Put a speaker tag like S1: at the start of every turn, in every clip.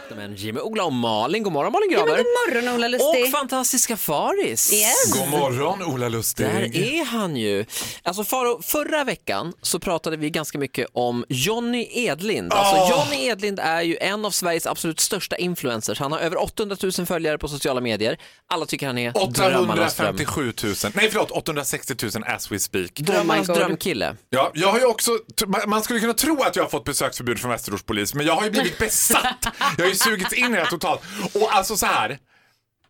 S1: Vakna med en Jimmy, Ola och Malin. God morgon Malin
S2: Ja, men
S1: Gramer.
S2: god morgon Ola Lustig.
S1: och fantastiska Faris.
S2: Yes.
S3: God morgon Ola
S1: Där
S3: Lustig.
S1: är han ju. Alltså Faro, förra veckan så pratade vi ganska mycket om Jonny Edlind.
S3: Ah.
S1: Alltså Jonny Edlind är ju en av Sveriges absolut största influencers. Han har över 800 000 följare på sociala medier. Alla tycker han är drömmarnas dröm.
S3: 857 000, nej förlåt 860 000 as we speak.
S1: Drömmarnas
S2: Oh God.
S1: drömkille.
S3: Ja, jag har ju också, t- ma- man skulle kunna tro att jag har fått besöksförbud från Västerås polis, men jag har ju blivit besatt. Jag har ju sugits in i det här totalt. Och alltså så här,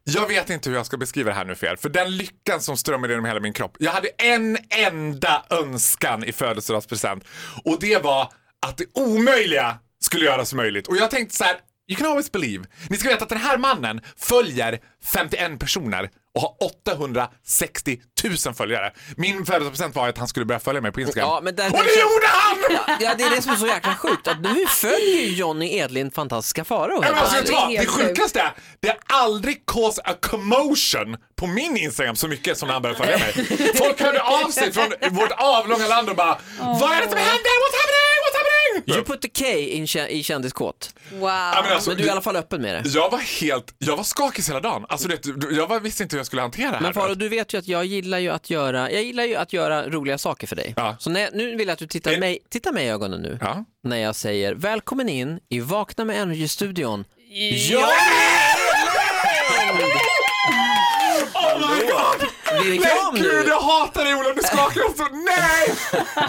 S3: jag vet inte hur jag ska beskriva det här nu för er, för den lyckan som strömmar genom hela min kropp. Jag hade en enda önskan i födelsedagspresent och det var att det omöjliga skulle göras möjligt. Och jag tänkte så här, you can always believe. Ni ska veta att den här mannen följer 51 personer och har 860 000 följare. Min födelsedagspresent var att han skulle börja följa mig på Instagram.
S1: Ja, men där-
S3: och det gjorde han!
S1: Ja, det är det som är så jäkla sjukt. Att nu följer ju Jonny Edlind fantastiska Faro.
S3: Nej, men alltså, vet du vad?
S2: det är helt
S3: Det
S2: sjukt.
S3: sjukaste är, det har aldrig cause a commotion på min Instagram så mycket som när han började följa mig. Folk hörde av sig från vårt avlånga land och bara Vad är det som händer? What's happening? What's happening?
S1: You put the K in, kä- i kändiskåt.
S2: Wow.
S3: Ja, men alltså,
S1: Men du är i alla fall öppen med det.
S3: Jag var helt, jag var skakig hela dagen. Alltså, det, jag var, visste inte hur jag skulle hantera det här.
S1: Men Faro,
S3: vet
S1: du vet ju att jag gillar ju att göra, jag gillar ju att göra roliga saker för dig.
S3: Ja.
S1: Så när, nu vill jag att du tittar
S3: Är-
S1: mig, titta mig i ögonen nu.
S3: du. Ja.
S1: När jag säger välkommen in i Vakna med Energy-studion.
S3: Ja! Oh my god!
S1: Blir det kram
S3: Nej gud
S1: nu?
S3: jag hatar dig Ola, du skakar jag så, nej!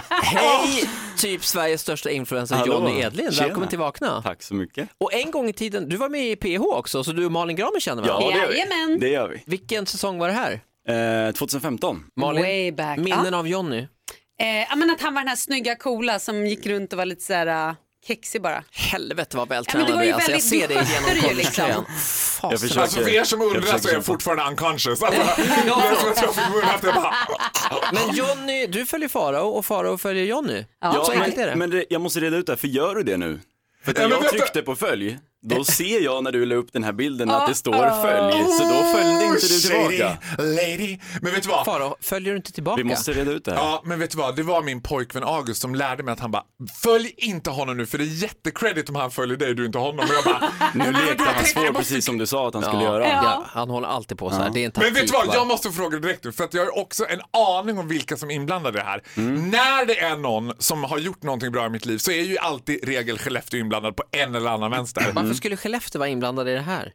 S1: Hej! Typ Sveriges största influencer
S4: Hallå.
S1: Johnny Edlin.
S4: Tjena.
S1: Välkommen till Vakna.
S4: Tack så mycket.
S1: Och en gång i tiden, du var med i PH också, så du och Malin Gramer känner varandra.
S4: Ja, det gör vi.
S2: Jajamän.
S4: Det gör vi.
S1: Vilken säsong var det här?
S4: Eh, 2015.
S1: Malin?
S2: Way back.
S1: Minnen av Johnny.
S2: Eh, ja, men att han var den här snygga coola som gick runt och var lite så här uh, kexig bara.
S1: Helvete vad
S2: Ja, men
S1: vältränad
S2: det var
S1: du
S2: ju
S1: är. Alltså, jag
S2: väldigt-
S1: ser dig genom
S2: du skötte det ju
S1: kollegian.
S2: liksom.
S4: Jag försöker-
S3: Alltså för er som
S4: jag
S3: undrar så
S4: försöker
S3: är jag
S4: kämpa.
S3: fortfarande unconscious. Alltså,
S1: Ja.
S3: det är som att jag fick munnen efter, jag bara...
S1: Men Johnny, du följer Farao och Farao följer Johnny.
S2: Ja,
S1: så enkelt är det.
S4: men, men det, jag måste reda ut det här, för gör du det nu? För att
S3: Ja,
S4: när
S3: men
S4: jag
S3: vänta.
S4: tryckte på följ, då ser jag när du la upp den här bilden
S1: Ah,
S4: att det står följ, så då följde inte du tillbaka.
S3: "Oh, Shady lady. Men vet du vad?
S1: Farao, följer du inte tillbaka?
S4: Vi måste reda ut det här.
S3: Ja, men vet du vad? Det var min pojkvän August som lärde mig att han bara Följ inte honom nu för det är jättecredit om han följer dig och du inte honom. Och jag bara,
S4: Nu lekte
S3: jag
S4: han
S3: tänkte-
S4: svår precis som du sa att han skulle göra.
S1: Ja, han håller alltid på så här. Det är en taktik,
S3: men vet du
S4: Typ,
S3: vad?
S1: va?
S3: Jag måste fråga direkt nu för att jag har också en aning om vilka som är inblandade i det här.
S4: Mm.
S3: När det är någon som har gjort någonting bra i mitt liv så är ju alltid regel Skellefteå inblandad på en eller annan vänster.
S4: Mm.
S1: Varför skulle Skellefteå vara inblandad i det här?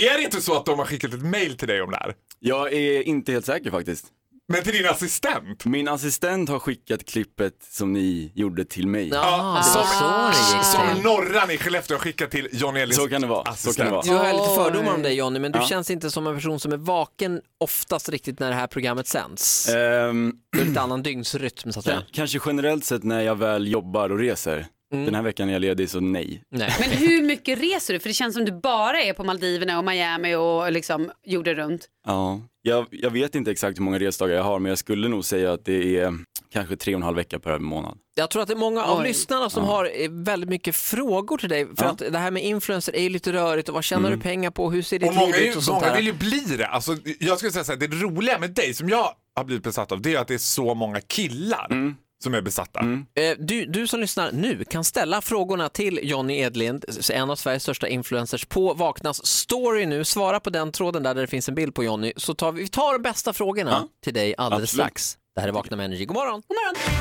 S3: Är det inte så att de har skickat ett mail till dig om det här?
S4: Jag är inte helt säker faktiskt.
S3: Men till din assistent?
S4: Min assistent har skickat klippet som ni gjorde till mig.
S1: Ja, Ah, det var så det gick
S3: Som
S1: till.
S3: Norran i Skellefteå har skickat till Johnny Elins
S4: Så kan det vara. Så kan det vara.
S1: Du har lite fördomar om dig Jonny, men du känns inte som en person som är vaken oftast riktigt när det här programmet sänds.
S4: Ehm,
S1: Du har lite annan dygnsrytm så att säga.
S4: K- Kanske generellt sett när jag väl jobbar och reser.
S1: Mm.
S4: Den här veckan är jag ledig så nej.
S1: Nej.
S2: Men hur mycket reser du? För det känns som du bara är på Maldiverna och Miami och liksom jorden runt.
S4: Ja. Jag, jag vet inte exakt hur många resdagar jag har men jag skulle nog säga att det är kanske tre och en halv vecka per månad.
S1: Jag tror att det är många av
S2: Oj.
S1: lyssnarna som har eh, väldigt mycket frågor till dig. För
S4: Ja.
S1: att det här med influencer är ju lite rörigt och vad tjänar du pengar på? Hur ser ditt
S3: Mm. Och många, är
S1: liv
S3: ju,
S1: ut och sånt
S3: många vill
S1: där?
S3: ju bli det. Alltså, jag skulle säga så här, det roliga med dig som jag har blivit besatt av det är att det är så många killar
S4: Mm.
S3: som är besatta.
S1: Eh, Du, du som lyssnar nu kan ställa frågorna till Johnny Edlind, s- en av Sveriges största influencers, på Vaknas story nu. Svara på den tråden där, där det finns en bild på Johnny, så tar vi, vi tar de bästa frågorna
S4: Ja.
S1: till dig alldeles
S4: Absolut.
S1: strax. Det här är Vakna med Energy. God morgon!
S2: God morgon.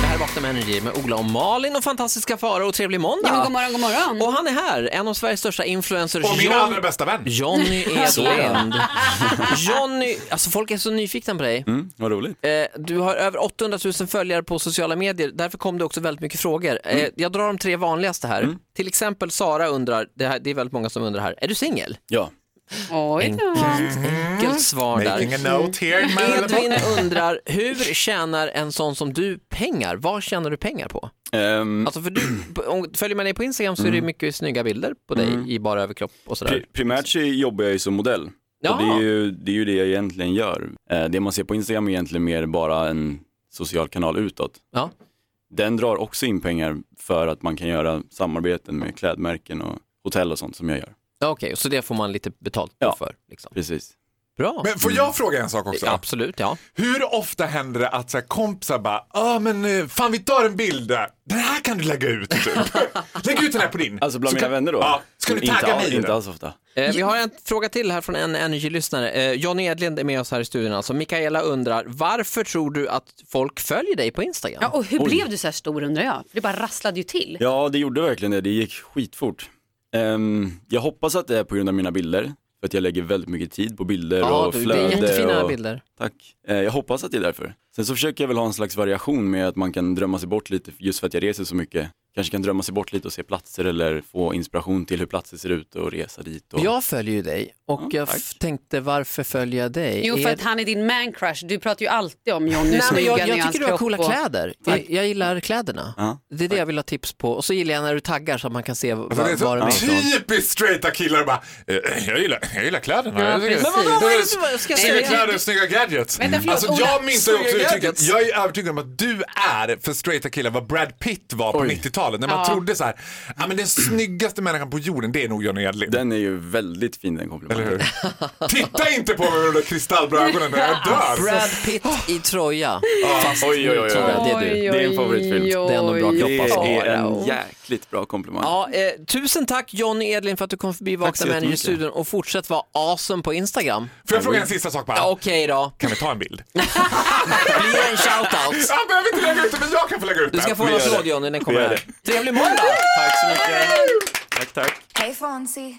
S1: Det här är Vakna med Energy med Ola och Malin och fantastiska Farao. och Trevlig måndag!
S2: Ja, men god morgon, god morgon.
S1: Och han är här, en av Sveriges största influencers,
S3: Och min
S1: John-
S3: allra bästa vän.
S1: Johnny
S4: Så.
S1: Edlind. Johnny, alltså folk är så nyfikna på dig.
S4: Mm, vad roligt.
S1: Eh, Du har över 800 000 följare på sociala medier, därför kom det också väldigt mycket frågor. Eh,
S3: Mm.
S1: Jag drar de tre vanligaste här. Till exempel Sara undrar, det, här, det är väldigt många som undrar här, är du singel?
S4: Ja.
S2: Oj då.
S1: Enkelt svar
S3: Making
S1: där.
S3: a note here. in my little book.
S1: Edvin undrar, hur tjänar en sån som du pengar? Vad tjänar du pengar på?
S4: Ehm,
S1: Alltså för du, om, följer man dig på
S3: Mm.
S1: Instagram så är det mycket snygga bilder på dig i bara överkropp och sådär.
S4: pri- primärt så jobbar jag ju som modell
S1: Ja.
S4: Och det, är ju, det är ju det jag egentligen gör. Eh, det man ser på Instagram är egentligen mer bara en social kanal utåt.
S1: Ja.
S4: Den drar också in pengar för att man kan göra samarbeten med klädmärken och hotell och sånt som jag gör.
S1: Ja, Okej, så det får man lite betalt
S4: Ja.
S1: för. Liksom.
S4: Precis.
S1: Bra.
S3: Men får jag fråga en sak också?
S1: Absolut, ja.
S3: Hur ofta händer det att så här, kompisar bara, ja men eh, fan vi tar en bild där, den här kan du lägga ut typ. Lägg ut den här på din.
S4: Alltså bland
S3: Så
S4: mina
S3: kan-
S4: vänner då?
S3: Ja, ska du tagga
S4: inte,
S3: mig
S4: all-
S3: i den?
S4: Inte alls ofta.
S1: Eh, vi har en fråga till här från en Energy-lyssnare. Eh, Johnny Edlind är med oss här i studion. Alltså. Mikaela undrar, varför tror du att folk följer dig på Instagram?
S2: Ja, och hur blev du så här stor undrar jag? För det bara rasslade ju till.
S4: Ja, det gjorde verkligen det. Det gick skitfort. Ehm, jag hoppas att det är på grund av mina bilder, för att jag lägger väldigt mycket tid på bilder
S1: Ja,
S4: och
S1: du, det
S4: flöde.
S1: är jättefina
S4: och...
S1: bilder.
S4: Tack. Eh, jag hoppas att det är därför. Sen så försöker jag väl ha en slags variation med att man kan drömma sig bort lite, just för att jag reser så mycket. Kanske kan drömma sig bort lite och se platser eller få inspiration till hur platser ser ut och resa dit. Och...
S1: Jag följer ju dig och jag f- tänkte varför följer jag dig?
S2: Jo, för
S1: Är-
S2: att han är din man crush. Du pratar ju alltid om Johnny
S1: Nej, men
S2: snygga
S1: jag,
S2: nu är
S1: jag
S2: hans
S1: tycker du har
S2: kropp
S1: coola
S2: och-
S1: kläder. Jag, jag gillar kläderna.
S4: Ja,
S1: det är det jag vill ha tips på. Och så gillar jag när du taggar så att man kan se vad,
S3: Alltså, det är så
S1: vad det är.
S3: typiskt straighta killar bara, eh, jag gillar, jag gillar kläderna.
S2: Ja,
S3: jag tycker-
S2: precis. Men vadå,
S1: vad är det som- vad ska jag
S3: Snygga
S1: säga?
S3: kläder, snygga gadgets.
S2: Vänta, förlåt,
S3: alltså,
S2: Ola,
S3: jag minns ju också
S1: snygga
S3: uttrycket,
S1: gadgets.
S3: jag är övertygad om att du är för straighta killar vad Brad Pitt var på 90-talet. När man trodde så här, ja men den snyggaste människan på jorden det är nog Johnny Edlin.
S4: Den är ju väldigt fin den komplimangen.
S3: Eller hur? Titta inte på mig med de där kristallblå ögonen, jag dör.
S1: Ah, Brad Pitt i troja. Fast
S4: Oj, oj, oj, oj.
S1: troja, det är du.
S2: Oj,
S4: Det är en favoritfilm.
S2: oj,
S1: Det är ändå bra
S2: oj,
S1: kropp,
S4: Det
S1: alltså.
S2: oj.
S4: är en jäkligt bra komplimang.
S1: Ja, eh, tusen tack Johnny Edlin för att du kom förbi Vakna
S4: så
S1: med i
S4: jättemycket.
S1: studion och fortsätt vara awesome på Instagram.
S3: Får jag fråga en sista sak bara?
S1: Ja, Okej då,
S3: Kan vi ta en bild?
S1: blir det en shoutout.
S3: Jag behöver inte lägga ut det, men jag kan få lägga ut
S1: Du
S3: det.
S1: ska få en
S4: gör
S1: applåd
S4: det.
S1: Johnny, den kommer
S4: Vi gör
S1: här. Trevlig måndag!
S4: Tack så mycket. Tack, tack.
S5: Hey Fonzie.